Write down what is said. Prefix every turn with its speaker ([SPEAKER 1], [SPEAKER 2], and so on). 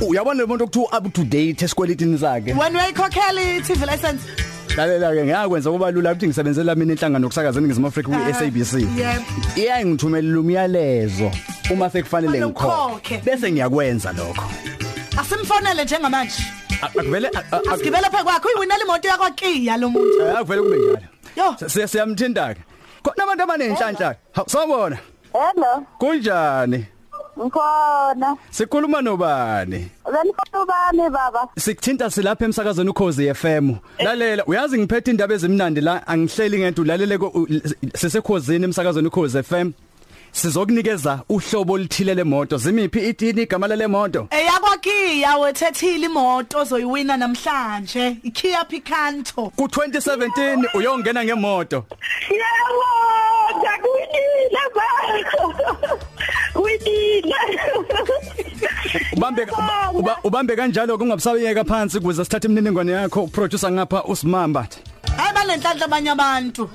[SPEAKER 1] uyabona umuntu okuthiwa up to date esikwelitini sakhe
[SPEAKER 2] when uyayikhokhela i-tv license
[SPEAKER 1] lalela ke ngakwenza kuba lula ukuthi ngisebenzela mina inhlangano yokusakazana ngizima Africa ku SABC
[SPEAKER 2] yep.
[SPEAKER 1] iyangithumelela umyalezo uma sekufanele
[SPEAKER 2] Fanele
[SPEAKER 1] ngikhokhe
[SPEAKER 2] ukhokhe.
[SPEAKER 1] bese ngiyakwenza lokho
[SPEAKER 2] asimfonele njengamanje
[SPEAKER 1] A- akuvele a- a- a-
[SPEAKER 2] asigibele phe kwakho uyiwinela imoto yakwakiya lo muntu
[SPEAKER 1] Eh, akuvele kube njalo
[SPEAKER 2] Yo.
[SPEAKER 1] Si- siya- siyamthinta ke khona abantu abanenhlanhla Hawu, sawubona
[SPEAKER 3] Hello,
[SPEAKER 1] kunjani
[SPEAKER 3] ngikhona.
[SPEAKER 1] sikhuluma nobani
[SPEAKER 3] Wemfunu bani baba?
[SPEAKER 1] sikuthinta silapha emsakazweni ukhozi FM lalela uyazi ngiphethe indaba ezimnandi la angihleli ngento lalele ko- u- sisekhozini emsakazweni ukhozi FM sizokunikeza uhlobo oluthile lemoto zimiphi itini igama lale moto
[SPEAKER 2] eyakwakiya Eh, wethethile imoto ozoyiwina namhlanje iKia Picanto
[SPEAKER 1] ku2017 uyongena ngemoto
[SPEAKER 3] Yebo, ngakuyile baba. Kuyile.
[SPEAKER 1] ubambe uba- ubambe kanjalo kungabusayeka phansi ukuze sithathe imininingwane yakho producer ngapha usimamba
[SPEAKER 2] hayi banenhlanhla abanye abantu